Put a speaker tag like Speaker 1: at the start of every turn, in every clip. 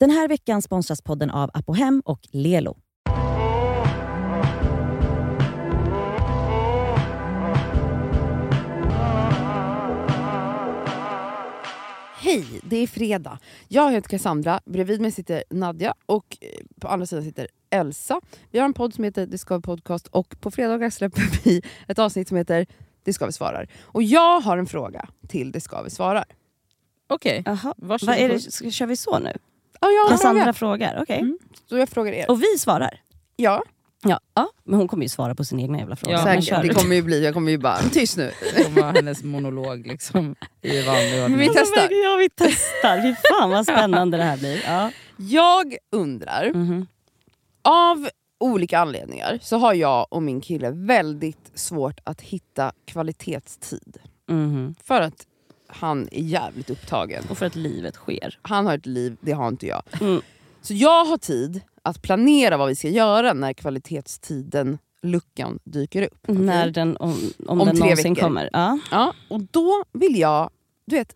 Speaker 1: Den här veckan sponsras podden av Apohem och Lelo.
Speaker 2: Hej, det är fredag. Jag heter Cassandra, bredvid mig sitter Nadja och eh, på andra sidan sitter Elsa. Vi har en podd som heter Det ska vi podcast och på fredagar släpper vi ett avsnitt som heter Det ska vi svarar. Och jag har en fråga till Det ska vi svarar.
Speaker 3: Okej.
Speaker 1: Jaha.
Speaker 3: Varsågod.
Speaker 1: Vad är det? Ska, kör vi så nu?
Speaker 2: Ja, jag har en
Speaker 1: Cassandra
Speaker 2: fråga.
Speaker 1: frågar, okej.
Speaker 3: Mm.
Speaker 2: Så jag frågar er.
Speaker 1: Och vi svarar?
Speaker 2: Ja,
Speaker 1: Ja. ja. Men hon kommer ju svara på sin egna jävla fråga.
Speaker 3: Ja,
Speaker 1: men
Speaker 2: säkert. Det kommer ju bli, jag kommer ju bara, tyst nu.
Speaker 3: Som var hennes monolog liksom, i vanlig ordning.
Speaker 2: Vi
Speaker 1: Alltså,
Speaker 2: testar.
Speaker 1: men Ja, vi testar. Fy fan vad spännande det här blir. Ja.
Speaker 2: Jag undrar,
Speaker 1: Mhm.
Speaker 2: av olika anledningar så har jag och min kille väldigt svårt att hitta kvalitetstid.
Speaker 1: Mhm.
Speaker 2: För att han är jävligt upptagen.
Speaker 1: Och för att livet sker.
Speaker 2: Han har ett liv, det har inte jag.
Speaker 1: Mm.
Speaker 2: Så jag har tid att planera vad vi ska göra när kvalitetstiden, luckan, dyker upp.
Speaker 1: Mm, När den, om, om,
Speaker 2: Om
Speaker 1: den
Speaker 2: tre
Speaker 1: någonsin
Speaker 2: veckor.
Speaker 1: kommer. Ja.
Speaker 2: Ja, och då vill jag, du vet,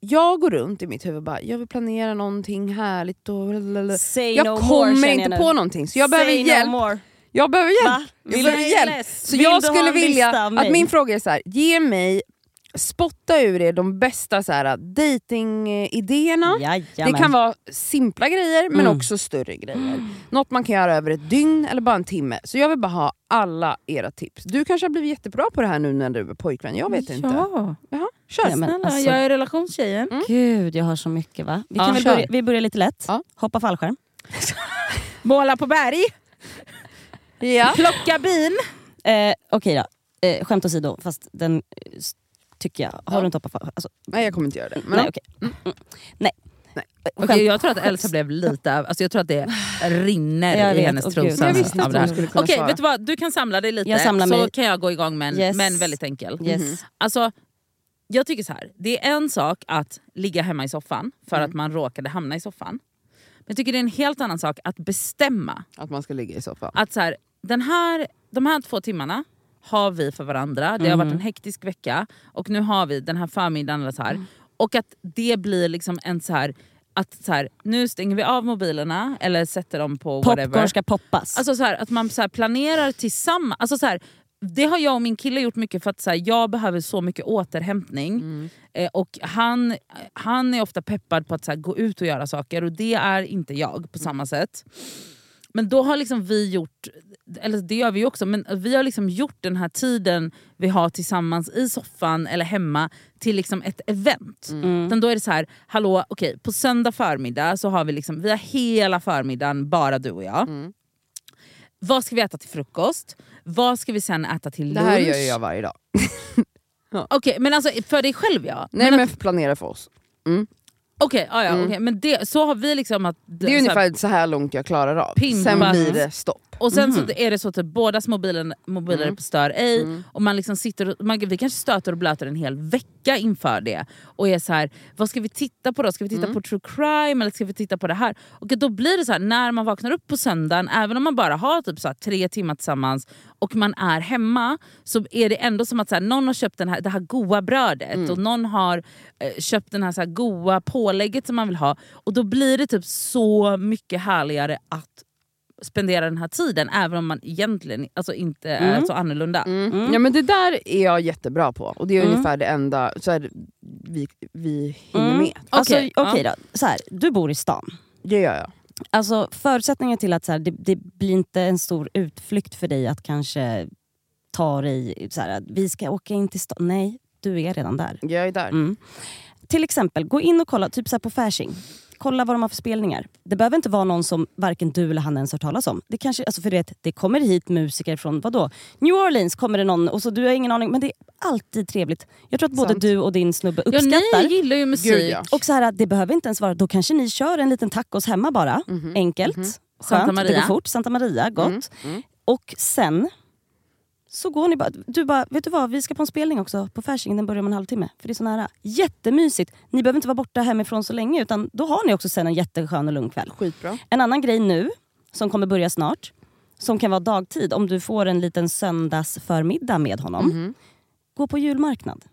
Speaker 2: jag går runt i mitt huvud och bara, jag vill planera någonting härligt och lalalala.
Speaker 1: Say
Speaker 2: Jag
Speaker 1: no more,
Speaker 2: kommer
Speaker 1: känner
Speaker 2: inte
Speaker 1: jag nu.
Speaker 2: på någonting så jag behöver
Speaker 1: Say
Speaker 2: hjälp.
Speaker 1: No more.
Speaker 2: Jag behöver hjälp.
Speaker 1: Va?
Speaker 2: Jag behöver hjälp. Så jag skulle vilja att min fråga är så här, ge mig, spotta ur er de bästa så här, eh, dating-idéerna. Det kan vara simpla grejer men
Speaker 1: Mm.
Speaker 2: också större grejer. Något man kan göra över ett dygn eller bara en timme. Så jag vill bara ha alla era tips. Du kanske har blivit jättebra på det här nu när du är pojkvän, jag vet inte.
Speaker 3: Ja,
Speaker 2: Jaha, kör!
Speaker 1: Ja, men
Speaker 3: snälla.
Speaker 1: alltså-
Speaker 3: Jag är relationstjejen.
Speaker 1: Gud, jag har så mycket va? Vi,
Speaker 3: Ja,
Speaker 1: kan väl
Speaker 2: kör.
Speaker 1: börja, vi börjar lite lätt.
Speaker 2: Ja.
Speaker 1: Hoppa fallskärm.
Speaker 3: Måla på berg,
Speaker 2: Ja.
Speaker 3: plocka bin.
Speaker 1: Eh, Okej då, eh, skämt åsido, fast den eh, s- tycker jag... Har
Speaker 2: Ja.
Speaker 1: du inte hoppat fallskärm? Alltså,
Speaker 2: Nej jag kommer inte göra det. Men,
Speaker 1: nej, okej. Mm, Nej.
Speaker 2: Nej.
Speaker 1: Skämt.
Speaker 3: Okej, jag tror att Elsa blev lite... av- Alltså jag tror att det rinner
Speaker 1: Jag
Speaker 3: i
Speaker 1: vet,
Speaker 3: hennes
Speaker 1: åh gud.
Speaker 3: trosa.
Speaker 1: Men
Speaker 2: jag visste
Speaker 3: av
Speaker 2: att
Speaker 3: det här.
Speaker 2: hon skulle kunna
Speaker 3: Okej,
Speaker 2: svara.
Speaker 3: vet du vad? Du kan samla dig lite
Speaker 1: Jag samlar
Speaker 3: så
Speaker 1: mig.
Speaker 3: kan jag gå igång med en
Speaker 1: Yes.
Speaker 3: men väldigt enkel.
Speaker 1: Yes.
Speaker 3: Alltså, jag tycker så här. Det är en sak att ligga hemma i soffan för
Speaker 1: Mm.
Speaker 3: att man råkade hamna i soffan. Men jag tycker det är en helt annan sak att bestämma
Speaker 2: Att man ska ligga i soffan.
Speaker 3: att så här, den här, de här två timmarna har vi för varandra. Det har
Speaker 1: Mm.
Speaker 3: varit en hektisk vecka och nu har vi den här förmiddagen. Eller så här.
Speaker 1: Mm.
Speaker 3: Och att det blir liksom en så här att så här, nu stänger vi av mobilerna eller sätter dem på whatever.
Speaker 1: Popcorn ska poppas.
Speaker 3: Alltså så här, att man så här planerar tillsammans. Alltså så här, det har jag och min kille gjort mycket för att så här, jag behöver så mycket återhämtning. Eh, och han, han är ofta peppad på att så här, gå ut och göra saker och det är inte jag på samma sätt. Men då har liksom vi gjort, eller det gör vi ju också, men vi har liksom gjort den här tiden vi har tillsammans i soffan eller hemma till liksom ett event.
Speaker 2: Mm.
Speaker 3: Utan då är det så här, hallå, okej, på söndag förmiddag så har vi liksom, vi har hela förmiddagen bara du och jag.
Speaker 2: Mm.
Speaker 3: Vad ska vi äta till frukost? Vad ska vi sen äta till
Speaker 2: det
Speaker 3: lunch?
Speaker 2: här gör ju jag varje dag.
Speaker 3: Okej, men alltså för dig själv ja.
Speaker 2: Nej
Speaker 3: men
Speaker 2: men,
Speaker 3: att-
Speaker 2: planera för oss.
Speaker 3: Okej, ja, ja, okej, men det, så har vi liksom att...
Speaker 2: Det är ungefär så här långt jag klarar av.
Speaker 3: Pimpa.
Speaker 2: Sen blir det stopp.
Speaker 3: Och sen så är det så att typ bådas mobiler, mobiler är på stör ej. Och man liksom sitter och, man, vi kanske stöter och blöter en hel vecka inför det. Och är så här, vad ska vi titta på då? Ska vi titta på true crime eller ska vi titta på det här? Och då blir det så här, när man vaknar upp på söndagen, även om man bara har typ så här, tre timmar tillsammans och man är hemma, så är det ändå som att så här, någon har köpt den här, det här goa brödet och någon har eh, köpt den här, så här goa pålägget som man vill ha. Och då blir det typ så mycket härligare att spendera den här tiden även om man egentligen alltså, inte är så annorlunda.
Speaker 2: Mm. Ja men det där är jag jättebra på och det
Speaker 1: Mm.
Speaker 2: är ungefär det enda så här, vi, vi hinner
Speaker 1: Mm.
Speaker 2: med.
Speaker 1: Alltså,
Speaker 3: Okej,
Speaker 1: Okej då, så här, du bor i stan.
Speaker 2: Det gör jag.
Speaker 1: Alltså, förutsättningen till att så här, det, det blir inte en stor utflykt för dig att kanske ta dig... Så här, att vi ska åka in till stan. Nej, du är redan där.
Speaker 2: Jag är där.
Speaker 1: Mm. Till exempel, gå in och kolla typ så här på Fasching. Kolla vad de har för spelningar. Det behöver inte vara någon som varken du eller han ens hört talas om. Det, kanske, alltså för det, det kommer hit musiker från vadå? New Orleans kommer det någon och så du har ingen aning. Men det är alltid trevligt. Jag tror att både
Speaker 2: Sant.
Speaker 1: du och din snubbe
Speaker 3: Ja,
Speaker 1: uppskattar.
Speaker 3: ni gillar ju musik.
Speaker 2: Gud, ja.
Speaker 1: Och så här, att det behöver inte ens vara, då kanske ni kör en liten tacos hemma bara. Enkelt,
Speaker 3: Mhm, Santa
Speaker 1: skönt, det
Speaker 3: Maria. Mm,
Speaker 1: går fort. Santa Maria, gott. Och sen så går ni bara, du bara, vet du vad vi ska på en spelning också på Fasching, den börjar om en halvtimme. För det är så nära. Jättemysigt. Ni behöver inte vara borta hemifrån så länge utan då har ni också sen en jätteskön och lugn kväll.
Speaker 2: Skitbra.
Speaker 1: En annan grej nu, som kommer börja snart, som kan vara
Speaker 2: Mhm.
Speaker 1: dagtid om du får en liten söndagsförmiddag med honom. Gå på julmarknad.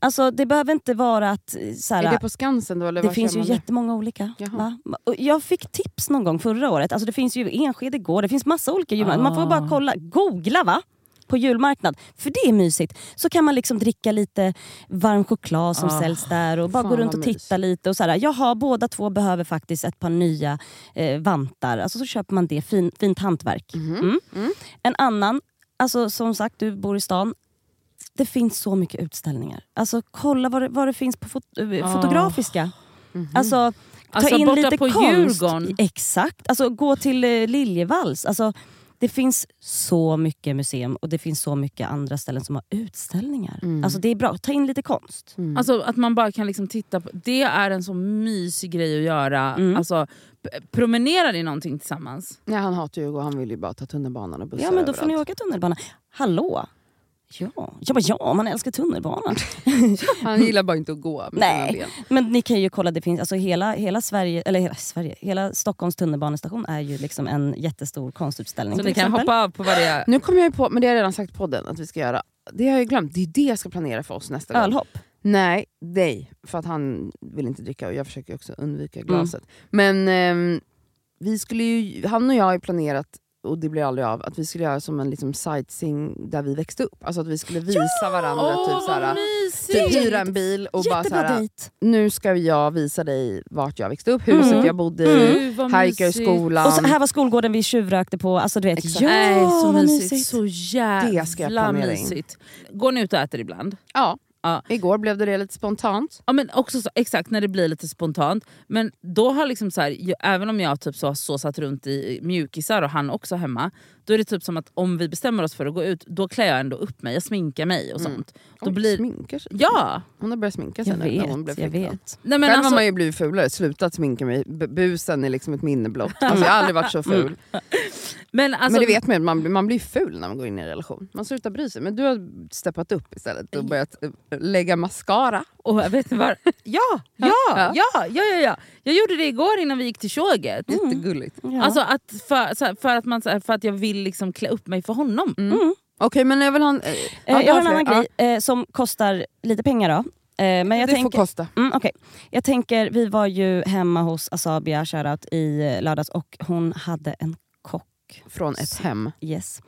Speaker 1: Alltså det behöver inte vara att... eh, Så här,
Speaker 2: Mm. Är det på Skansen då? Eller
Speaker 1: det
Speaker 2: var
Speaker 1: finns
Speaker 2: kör
Speaker 1: ju
Speaker 2: man det?
Speaker 1: jättemånga olika.
Speaker 2: Jaha.
Speaker 1: Va? Och Jag fick tips någon gång förra året. Alltså det finns ju Enskede gård, det finns massa olika julmarknader. Man får
Speaker 2: Ah.
Speaker 1: bara kolla, googla va? på julmarknad. För det är mysigt. Så kan man liksom dricka lite varm choklad som
Speaker 3: Ah,
Speaker 1: säljs där och bara
Speaker 2: fan
Speaker 1: gå runt
Speaker 2: vad
Speaker 1: och
Speaker 2: mys.
Speaker 1: titta lite. Och så här, Jaha, båda två behöver faktiskt ett par nya eh, vantar. Alltså så köper man det, fin, fint hantverk.
Speaker 2: Mhm.
Speaker 1: Mm. En annan, alltså som sagt du bor i stan. Det finns så mycket utställningar. Alltså kolla vad det, vad det finns på fot, eh,
Speaker 2: Ah.
Speaker 1: fotografiska. Alltså ta
Speaker 3: Mm. Alltså,
Speaker 1: in
Speaker 3: borta
Speaker 1: lite
Speaker 3: på
Speaker 1: konst.
Speaker 3: Djurgården.
Speaker 1: Exakt. Alltså gå till eh, Liljevalchs. Alltså, det finns så mycket museum och det finns så mycket andra ställen som har utställningar.
Speaker 3: Mm.
Speaker 1: Alltså det är bra, ta in lite konst.
Speaker 3: Alltså att man bara kan liksom titta på, det är en så mysig grej att göra. Alltså, p- promenerar ni någonting tillsammans?
Speaker 2: Nej, han hatar ju att gå. Han vill ju bara ta tunnelbanan och bussar
Speaker 1: Ja men då får ni
Speaker 2: överallt.
Speaker 1: åka tunnelbana. Hallå? Ja, jag bara, ja man älskar tunnelbanan.
Speaker 2: Han gillar bara inte att gå med sina
Speaker 1: Nej,
Speaker 2: ben.
Speaker 1: men ni kan ju kolla, det finns alltså hela, hela Sverige, eller hela Sverige, hela Stockholms tunnelbanestation är ju liksom en jättestor konstutställning
Speaker 3: Så
Speaker 1: till
Speaker 3: ni kan
Speaker 1: exempel.
Speaker 3: hoppa av på varje...
Speaker 2: Nu kommer jag ju på, men det har jag redan sagt på podden att vi ska göra. Det har jag ju glömt. Det är det jag ska planera för oss nästa gång.
Speaker 1: Ölhopp.
Speaker 2: Nej, dig. För att han vill inte dricka och jag försöker också undvika
Speaker 1: Mm.
Speaker 2: glaset. Men ehm, vi skulle ju, han och jag har ju planerat, och det blir aldrig av, att vi skulle göra som en liksom sightseeing där vi växte upp. Alltså att vi skulle visa varandra. typ, såhär, typ
Speaker 3: mysigt!
Speaker 2: hyra en bil och bara
Speaker 1: Jättebra
Speaker 2: såhär,
Speaker 1: dejt.
Speaker 2: nu ska jag visa dig vart jag växte upp, huset
Speaker 1: Mm.
Speaker 2: jag bodde i,
Speaker 3: Gud, vad mysigt.
Speaker 2: hikerskolan.
Speaker 1: Och så, här var skolgården vi tjuvrökte på. Alltså du vet,
Speaker 2: Exakt.
Speaker 1: ja
Speaker 3: Nej, så
Speaker 1: vad
Speaker 3: mysigt.
Speaker 1: mysigt.
Speaker 3: Så jävla
Speaker 2: Det ska jag planera in.
Speaker 3: mysigt. Går ni ut och äter ibland?
Speaker 2: Ja.
Speaker 3: Ja.
Speaker 2: Igår blev det det lite spontant.
Speaker 3: Ja, men också så, exakt, när det blir lite spontant. Men då har liksom så här, ju- även om jag typ så, så satt runt i mjukisar och han också hemma, då är det typ som att om vi bestämmer oss för att gå ut, då klär jag ändå upp mig, jag sminkar mig och sånt. Då
Speaker 2: Mm. Oj,
Speaker 3: blir,
Speaker 2: sminkar sig.
Speaker 3: ja!
Speaker 2: Hon har börjat sminka sig
Speaker 1: Jag
Speaker 2: nu när hon blev
Speaker 1: vet, jag
Speaker 2: flickvän.
Speaker 1: vet.
Speaker 3: Nej, men
Speaker 2: Själv har
Speaker 3: alltså,
Speaker 2: man ju blivit fulare, slutat sminka mig. B- busen är liksom ett minne blott.
Speaker 1: Mm.
Speaker 2: Alltså, jag har aldrig varit så ful.
Speaker 3: men, alltså,
Speaker 2: men det vet man ju, man, blir- man blir ful när man går in i en relation. Man slutar bry sig. Men du har steppat upp istället och börjat eh, lägga mascara.
Speaker 3: Och jag vet inte var, ja, ja, ja, ja, ja, ja. Jag gjorde det igår innan vi gick till tjoget.
Speaker 2: Mm. Jättegulligt.
Speaker 1: Ja.
Speaker 3: Alltså att för, så här, för, att man, så här, för att jag vill liksom klä upp mig för honom.
Speaker 2: Okej men jag vill ha en... eh,
Speaker 1: Mm. Eh,
Speaker 2: ja, du
Speaker 1: jag har en
Speaker 2: fler.
Speaker 1: annan
Speaker 2: Ja,
Speaker 1: grej eh, som kostar lite pengar då. Eh, men jag
Speaker 2: det
Speaker 1: tänker,
Speaker 2: får kosta.
Speaker 1: Mm, okej. Jag tänker, vi var ju hemma hos Asabia shoutout, i eh, lördags och hon hade en kock.
Speaker 2: Från ett hem.
Speaker 1: Yes.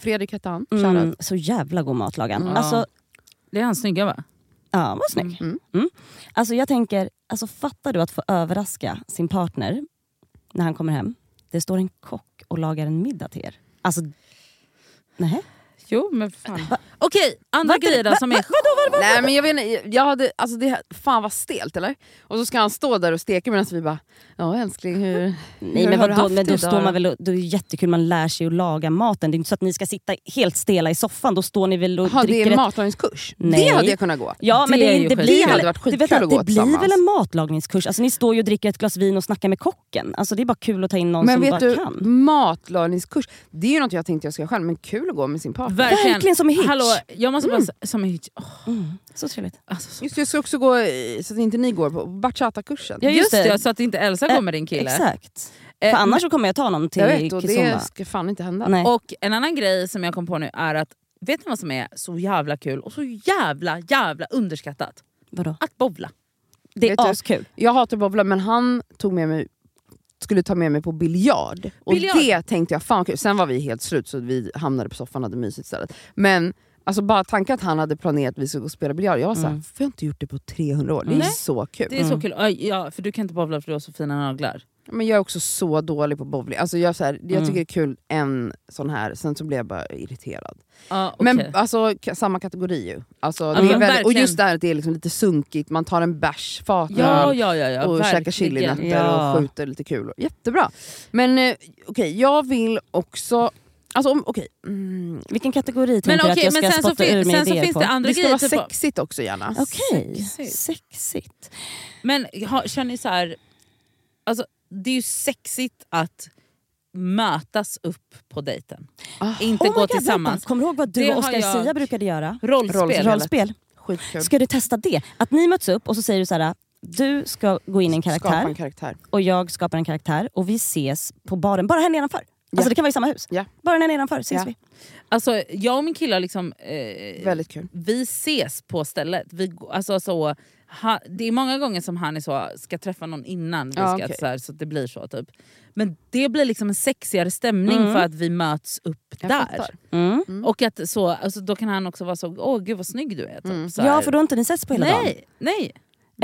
Speaker 2: Fredrik hette han.
Speaker 1: Mm,
Speaker 2: Mm.
Speaker 1: så jävla god mat lagade han.
Speaker 3: Mm.
Speaker 1: Alltså,
Speaker 3: Det är han snygga va?
Speaker 1: Ja, vad snygg.
Speaker 2: Mm.
Speaker 1: Mm. Alltså jag tänker, alltså fattar du att få överraska sin partner när han kommer hem? Det står en kock och lagar en middag till er. Alltså, nej.
Speaker 3: Jo men fan. Okej, andra grejer då som är...
Speaker 2: Nej men jag vet inte, jag hade, alltså det, här- fan vad stelt eller? Och så ska han stå där och steka medan vi bara, ja älskling hur...
Speaker 1: Nej
Speaker 2: Hur
Speaker 1: men
Speaker 2: har du
Speaker 1: vadå,
Speaker 2: haft
Speaker 1: men
Speaker 2: det
Speaker 1: då
Speaker 2: idag
Speaker 1: står
Speaker 2: då?
Speaker 1: man väl och, då är det jättekul, man lär sig att laga maten. Det är inte så att ni ska sitta helt stela i soffan, då står ni väl och
Speaker 2: Jaha, det
Speaker 1: dricker
Speaker 2: är
Speaker 1: ett-
Speaker 2: matlagningskurs?
Speaker 1: Nej.
Speaker 2: Det hade jag kunnat gå.
Speaker 1: Ja, men
Speaker 3: Det
Speaker 1: det,
Speaker 3: är
Speaker 1: är-
Speaker 3: ju
Speaker 1: det
Speaker 3: skit.
Speaker 1: blir,
Speaker 2: Det hade varit
Speaker 1: du vet
Speaker 2: skitkul att gå
Speaker 1: Det blir väl
Speaker 2: tillsammans.
Speaker 1: en matlagningskurs? Alltså, ni står ju och dricker ett glas vin och snackar med kocken. Alltså, det är bara kul att ta in någon
Speaker 2: Men
Speaker 1: som bara
Speaker 2: vet du,
Speaker 1: kan.
Speaker 2: matlagningskurs, det är ju något jag tänkte jag ska göra själv, men kul att gå med sin partner.
Speaker 3: Verkligen.
Speaker 1: Verkligen som i Hitch. Mm.
Speaker 3: Hallå, jag måste bara säga, som i Hitch. Åh,
Speaker 1: Så trevligt.
Speaker 3: alltså, så.
Speaker 2: Just det, jag ska också gå, eh, så att inte ni går, på bachata-kursen.
Speaker 1: Ja,
Speaker 3: Just,
Speaker 1: just
Speaker 3: det,
Speaker 1: det.
Speaker 3: så att inte Elsa
Speaker 1: Eh,
Speaker 3: går med din kille.
Speaker 1: Exakt.
Speaker 3: Eh,
Speaker 1: För annars så kommer jag ta någon till
Speaker 2: jag vet, och
Speaker 1: Kizomba.
Speaker 2: det ska fan inte hända.
Speaker 1: Nej.
Speaker 3: Och en annan grej som jag kom på nu är att, vet ni vad som är så jävla kul och så jävla jävla underskattat?
Speaker 1: Vadå?
Speaker 3: Att bowla.
Speaker 1: Det
Speaker 2: Vet du-
Speaker 1: är askul.
Speaker 2: Jag hatar bowla, men han tog med mig skulle ta med mig på biljard. Och
Speaker 3: Biljard.
Speaker 2: det tänkte jag, fan vad kul. Sen var vi helt slut så vi hamnade på soffan och hade mysigt istället. Men alltså, bara tanken att han hade planerat att vi skulle gå och spela biljard, jag var
Speaker 1: Mm.
Speaker 2: såhär, för jag har inte gjort det på 300 år. Det är
Speaker 3: Nej.
Speaker 2: så kul.
Speaker 3: Det är så kul. Oj, Ja, för du kan inte bowla för du har så fina naglar.
Speaker 2: Men jag är också så dålig på bowling. Alltså jag, så här, jag
Speaker 3: Mm.
Speaker 2: tycker det är kul en sån här, sen så blir jag bara irriterad.
Speaker 3: Ja, okej.
Speaker 2: Men alltså ka- samma kategori ju. Alltså, det är
Speaker 3: men
Speaker 2: väldigt, och
Speaker 3: verkligen.
Speaker 2: just det här att det är liksom lite sunkigt, man tar en bärs, fatöl
Speaker 3: ja, ja, ja, ja,
Speaker 2: och käkar
Speaker 3: verkligen.
Speaker 2: chilinötter
Speaker 1: Ja.
Speaker 2: och skjuter lite kulor. Jättebra. Men eh, okej, jag vill också... Alltså om, okej, mm,
Speaker 1: Vilken kategori
Speaker 3: Men
Speaker 1: tänker du att
Speaker 3: okej,
Speaker 1: jag
Speaker 3: men
Speaker 1: ska
Speaker 3: sen så
Speaker 1: spotta
Speaker 3: fin-
Speaker 1: ur mig
Speaker 3: sen så
Speaker 1: idéer
Speaker 3: finns
Speaker 1: på?
Speaker 3: det andra
Speaker 2: det ska
Speaker 3: grejer.
Speaker 2: vara
Speaker 3: Typ av-
Speaker 2: sexigt också gärna.
Speaker 1: Okej,
Speaker 3: Sexigt.
Speaker 1: sexigt.
Speaker 3: Men ha, kör ni så här, alltså, det är ju sexigt att mötas upp på dejten.
Speaker 2: Ah.
Speaker 3: Inte
Speaker 1: Oh my
Speaker 3: gå
Speaker 1: God,
Speaker 3: tillsammans.
Speaker 1: vänta. Kommer du ihåg vad du
Speaker 3: Det
Speaker 1: och Oscar
Speaker 3: har jag-
Speaker 1: Sia brukade göra? Alltså,
Speaker 3: Rollspel.
Speaker 2: Rollspel.
Speaker 1: Rollspel.
Speaker 2: Skitkul.
Speaker 1: Ska du testa det? Att ni möts upp och så säger du så här. Du ska gå in i en
Speaker 2: Skapa
Speaker 1: karaktär
Speaker 2: en karaktär.
Speaker 1: och jag skapar en karaktär och vi ses på baren, bara här nedanför. Alltså det kan vara i samma hus.
Speaker 2: Ja.
Speaker 1: Bara när nedanför ses
Speaker 2: Ja.
Speaker 1: vi.
Speaker 3: Alltså, jag och min kille har liksom... Eh,
Speaker 2: Väldigt kul.
Speaker 3: vi ses på stället. Vi, g- alltså, så, ha, det är många gånger som han är så, ska träffa någon innan vi
Speaker 2: Ja,
Speaker 1: Ah,
Speaker 3: ska,
Speaker 2: okej.
Speaker 3: så, här, så att det blir så. typ. Men det blir liksom en sexigare stämning för att vi möts upp
Speaker 2: Jag
Speaker 3: där.
Speaker 2: fattar.
Speaker 1: Mm.
Speaker 3: Och att så, alltså, då kan han också vara så, åh gud vad snygg du är. Typ, så här.
Speaker 1: Mm. Ja för då har inte ni setts på hela dagen.
Speaker 3: nej, nej,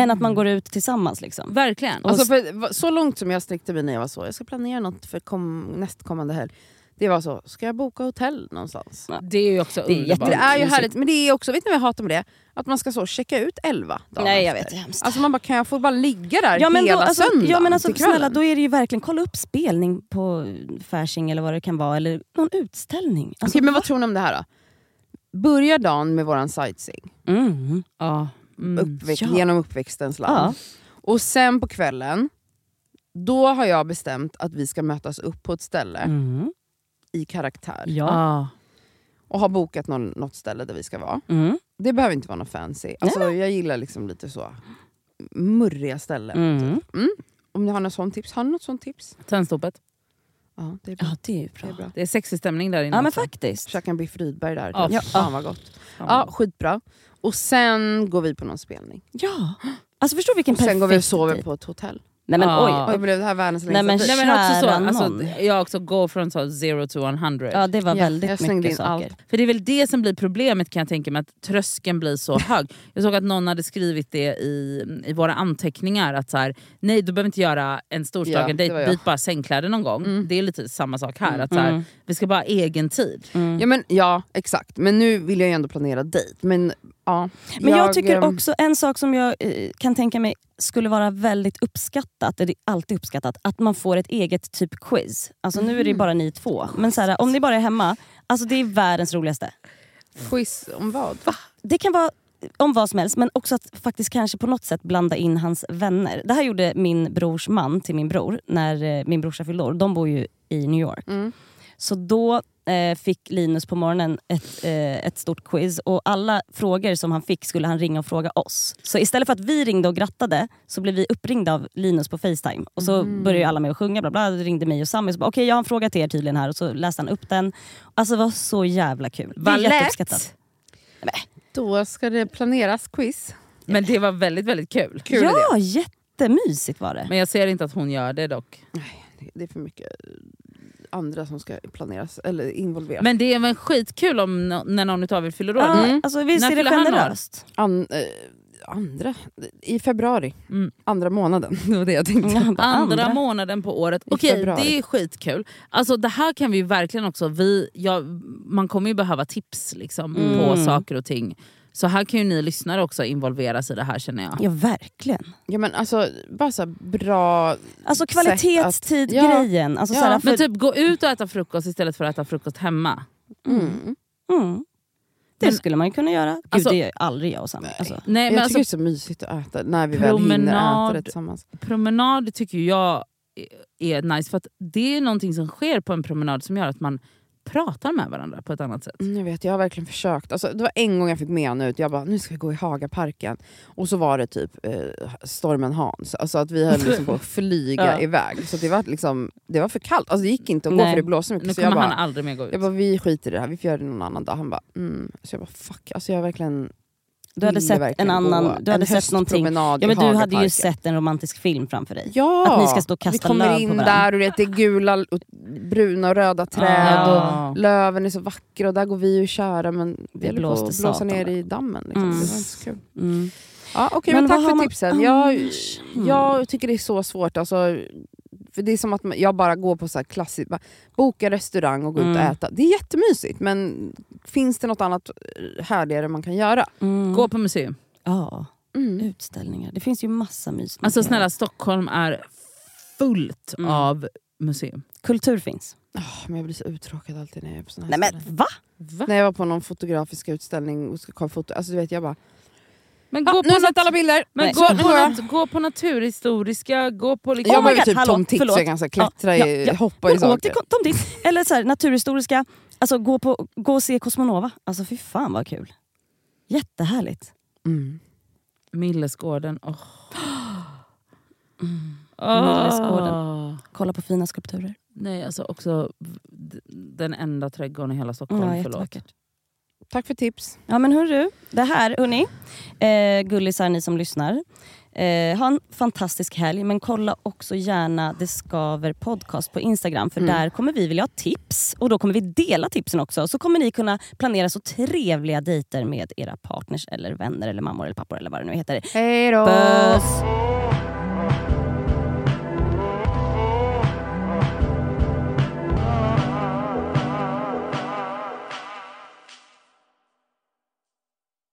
Speaker 1: Än att man går ut tillsammans liksom.
Speaker 3: verkligen.
Speaker 2: Alltså för, va- så långt som jag sträckte mig när jag var så, jag ska planera något för kom, nästkommande helg. Det var så, ska jag boka hotell någonstans?
Speaker 3: det är ju också
Speaker 1: Det är
Speaker 3: underbart.
Speaker 2: För det är ju
Speaker 1: mysigt.
Speaker 2: härligt, men det är också, vet ni vad jag hatar med det? Att man ska så checka ut 11 dagar
Speaker 1: det är hemskt.
Speaker 2: Alltså man bara, kan jag få bara ligga där
Speaker 1: Ja men, då,
Speaker 2: hela
Speaker 1: alltså,
Speaker 2: söndagen
Speaker 1: ja, men alltså,
Speaker 2: till kvällen?
Speaker 1: snälla, då är det ju verkligen, kolla upp spelning på Fasching eller vad det kan vara, eller någon utställning. Alltså,
Speaker 2: Okej, men vad tror ni om det här då? Börja dagen med våran sightseeing,
Speaker 1: mm.
Speaker 3: Ja, mm.
Speaker 2: uppväxt,
Speaker 1: ja.
Speaker 2: genom uppväxtens
Speaker 1: ja.
Speaker 2: land. Och sen på kvällen, då har jag bestämt att vi ska mötas upp på ett ställe
Speaker 1: Mm.
Speaker 2: i karaktär.
Speaker 1: ja.
Speaker 3: Ja.
Speaker 2: Och har bokat någon, något ställe där vi ska vara.
Speaker 1: Mm.
Speaker 2: Det behöver inte vara något fancy. Alltså, Jag gillar liksom lite så murriga ställen.
Speaker 1: Mm.
Speaker 2: Om ni har något sånt tips, har ni något sånt tips?
Speaker 3: Tändstoppet.
Speaker 2: Ja, det är bra.
Speaker 1: ja, det är ju
Speaker 2: Det är
Speaker 1: bra.
Speaker 2: bra.
Speaker 3: Det är sexig stämning där inne.
Speaker 1: Ja men
Speaker 3: också.
Speaker 1: faktiskt.
Speaker 2: Käka en biff Rydberg där.
Speaker 3: Ja,
Speaker 2: Ja.
Speaker 3: fy
Speaker 2: Fan vad gott.
Speaker 3: Fan, vad
Speaker 2: Ja, skitbra. Och sen går vi på någon spelning.
Speaker 1: Ja. Alltså förstå vilken
Speaker 2: Och sen går vi och
Speaker 1: perfekt
Speaker 2: sover
Speaker 1: tid.
Speaker 2: på ett hotell.
Speaker 1: Nej men
Speaker 3: Ja.
Speaker 1: oj.
Speaker 2: Oj, blev det här världens
Speaker 1: Nej, men
Speaker 2: längsta
Speaker 3: Nej,
Speaker 2: tid?
Speaker 3: men också så,
Speaker 1: Kära
Speaker 3: alltså,
Speaker 1: nån.
Speaker 3: jag också går från så zero to 100.
Speaker 1: Ja det var
Speaker 2: Ja,
Speaker 1: väldigt
Speaker 2: jag slängde
Speaker 1: mycket
Speaker 2: in
Speaker 1: saker.
Speaker 2: allt.
Speaker 3: För det är väl det som blir problemet kan jag tänka mig, att tröskeln blir så hög. Jag såg att någon hade skrivit det i, i våra anteckningar, att så här, nej du behöver inte göra en storslagen
Speaker 2: Ja, det
Speaker 3: dejt,
Speaker 2: var jag. Mm.
Speaker 3: byt bara sängkläder någon gång. Det är lite samma sak här, att så
Speaker 1: Mm.
Speaker 3: här, vi ska bara ha egen tid.
Speaker 2: Ja, men, ja, exakt. Men nu vill jag ju ändå planera dejt. Men, ja,
Speaker 1: Men jag, tycker
Speaker 2: ehm,
Speaker 1: också en sak som jag eh, kan tänka mig skulle vara väldigt uppskattat, eller det är alltid uppskattat, att man får ett eget typ quiz. Alltså nu är det ju bara ni två, men så här, om ni bara är hemma, alltså det är världens roligaste.
Speaker 2: Quiz om vad?
Speaker 1: Det kan vara om vad som helst, men också att faktiskt kanske på något sätt blanda in hans vänner. Det här gjorde min brors man till min bror när eh, min brorsa fyllde år. De bor ju i New York.
Speaker 3: Mm.
Speaker 1: Så då eh, fick Linus på morgonen ett, eh, ett stort quiz och alla frågor som han fick skulle han ringa och fråga oss. Så istället för att vi ringde och grattade så blev vi uppringda av Linus på Facetime. Och så
Speaker 3: Mm.
Speaker 1: började ju alla med att sjunga, bla bla, ringde mig och Sammy och så bara okej jag har en fråga till er tydligen här och så läste han upp den. Alltså det var så jävla kul. Det är
Speaker 3: Vad lätt.
Speaker 1: jätteuppskattat.
Speaker 2: Då ska det planeras quiz.
Speaker 3: Men det var väldigt väldigt kul.
Speaker 2: Kul idé.
Speaker 1: ja, jättemysigt var det.
Speaker 3: Men jag ser inte att hon gör det dock.
Speaker 2: Det- Det är för mycket eh, andra som ska planeras eller involveras.
Speaker 3: Men det är väl skitkul om, nå- när någon av er fyller år?
Speaker 1: Ja, alltså, visst
Speaker 3: Mm. När
Speaker 1: är det
Speaker 3: fyller han år?
Speaker 1: generöst?
Speaker 2: An, eh, andra? I februari.
Speaker 3: Mm.
Speaker 2: Andra månaden. Det var det jag tänkte.
Speaker 1: Ja, bara
Speaker 3: Andra, månaden på året.
Speaker 2: I
Speaker 3: Okej,
Speaker 2: februari.
Speaker 3: det är skitkul. Alltså det här kan vi ju verkligen också... Vi, ja, man kommer ju behöva tips liksom,
Speaker 1: Mm.
Speaker 3: på saker och ting. Så här kan ju ni lyssnare också involveras i det här känner jag.
Speaker 1: Ja verkligen.
Speaker 2: Ja, men alltså, bara så här bra...
Speaker 1: Alltså
Speaker 2: Sätt att-
Speaker 1: kvalitetstid-grejen. Alltså,
Speaker 2: Ja,
Speaker 1: såhär, för,
Speaker 3: Men typ gå ut och äta frukost istället för att äta frukost hemma.
Speaker 2: Mm.
Speaker 1: mm, det
Speaker 3: Men-
Speaker 1: skulle man kunna göra. Gud
Speaker 3: Alltså-
Speaker 1: det gör aldrig jag och Sam. Alltså,
Speaker 3: Nej,
Speaker 2: Jag
Speaker 3: men
Speaker 2: tycker
Speaker 3: alltså,
Speaker 2: det är så mysigt att äta när vi väl hinner
Speaker 3: Promenad.
Speaker 2: äta det tillsammans.
Speaker 3: Promenad tycker ju jag är nice för att det är någonting som sker på en promenad som gör att man pratar med varandra på ett annat sätt.
Speaker 2: Mm, Jag vet, jag har verkligen försökt. Alltså, det var en gång jag fick med henne ut, jag bara nu ska vi gå i Hagaparken. Och så var det typ eh, stormen Hans, alltså att vi höll liksom på att flyga
Speaker 3: Ja.
Speaker 2: iväg. Så det var, liksom, det var för kallt, alltså, det gick inte att gå
Speaker 1: Nej.
Speaker 2: för det blåste mycket.
Speaker 3: Nu
Speaker 2: Så jag
Speaker 3: kommer han
Speaker 2: bara,
Speaker 3: aldrig mer gå ut.
Speaker 2: jag bara, vi skiter i det här, vi får göra det någon annan dag. Han bara, mm. Så jag bara fuck, alltså, jag har verkligen
Speaker 1: du hade
Speaker 2: ville
Speaker 1: sett en
Speaker 2: verkligen gå
Speaker 1: annan, du hade
Speaker 2: en
Speaker 1: sett någonting.
Speaker 2: höstpromenad
Speaker 1: Ja,
Speaker 2: i
Speaker 1: men du hade ju
Speaker 2: Hagaparken.
Speaker 1: sett en romantisk film framför dig.
Speaker 2: Ja!
Speaker 1: att ni ska stå och kasta
Speaker 2: Vi kommer
Speaker 1: löv på
Speaker 2: in
Speaker 1: varandra.
Speaker 2: där och det är gula och bruna och röda träd. Och
Speaker 3: Ja.
Speaker 2: löven är så vackra och där går vi och kära men
Speaker 1: Det
Speaker 2: vi höll på att
Speaker 1: blåste
Speaker 2: blåsa
Speaker 1: satan.
Speaker 2: ner i dammen. Liksom.
Speaker 1: Mm.
Speaker 2: Det var inte så kul.
Speaker 1: Mm.
Speaker 2: Ja, okay,
Speaker 1: Men
Speaker 2: men
Speaker 1: vad
Speaker 2: tack
Speaker 1: har
Speaker 2: för
Speaker 1: man Ah.
Speaker 2: tipsen. Jag,
Speaker 1: annars? Mm.
Speaker 2: jag tycker det är så svårt. Alltså, för det är som att man- jag bara går på så här klassiskt, bara, boka restaurang och gå ut och
Speaker 1: Mm.
Speaker 2: äta. Det är jättemysigt men finns det något annat eh, härligare man kan göra?
Speaker 1: Mm.
Speaker 3: Gå på museum.
Speaker 1: Ja,
Speaker 2: Mm.
Speaker 1: utställningar. Det finns ju massa mys. man
Speaker 3: Alltså
Speaker 1: kan göra.
Speaker 3: snälla, Stockholm är fullt
Speaker 1: Mm.
Speaker 3: av museum.
Speaker 1: Kultur finns.
Speaker 2: Ah, men jag blir så uttråkad alltid när jag är på såna här
Speaker 1: Nej
Speaker 2: ställen.
Speaker 1: men va?
Speaker 3: Va?
Speaker 2: När jag var på någon fotografisk utställning och ska kolla foto, alltså du vet jag bara
Speaker 3: Men
Speaker 2: ah,
Speaker 3: gå
Speaker 2: nu har
Speaker 3: på,
Speaker 2: jag sett
Speaker 3: nat-
Speaker 2: alla bilder!
Speaker 3: men
Speaker 1: Nej.
Speaker 3: gå, på
Speaker 2: Nu går jag.
Speaker 3: nat- gå på naturhistoriska, gå på liksom...
Speaker 1: Oh
Speaker 2: jag
Speaker 1: my
Speaker 2: var ju
Speaker 1: God,
Speaker 2: typ
Speaker 1: hallå,
Speaker 2: Tom Tits,
Speaker 1: förlåt.
Speaker 2: så jag kan så här klättra,
Speaker 1: Ja,
Speaker 2: i,
Speaker 1: ja,
Speaker 2: hoppa i
Speaker 1: Men åk
Speaker 2: saker.
Speaker 1: till Tom Dits. Eller så här, Naturhistoriska, alltså, gå, på, gå och se Cosmonova. Alltså fy fan vad kul. Jättehärligt.
Speaker 2: Mm.
Speaker 3: Millesgården. Oh.
Speaker 1: Millesgården. Kolla på fina skulpturer.
Speaker 3: Ah. Nej, alltså också d- den enda trädgården i hela Stockholm.
Speaker 1: Ja,
Speaker 3: förlåt.
Speaker 1: jättevackert.
Speaker 2: Tack för tips.
Speaker 1: Ja men hörru, det här hörni, eh, gullisar ni som lyssnar. Eh, ha en fantastisk helg men kolla också gärna Det Skaver podcast på Instagram för där kommer vi vilja ha tips och då kommer vi dela tipsen också. Så kommer ni kunna planera så trevliga dejter med era partners eller vänner eller mammor eller pappor eller vad det nu heter.
Speaker 2: Hej då!
Speaker 1: Puss!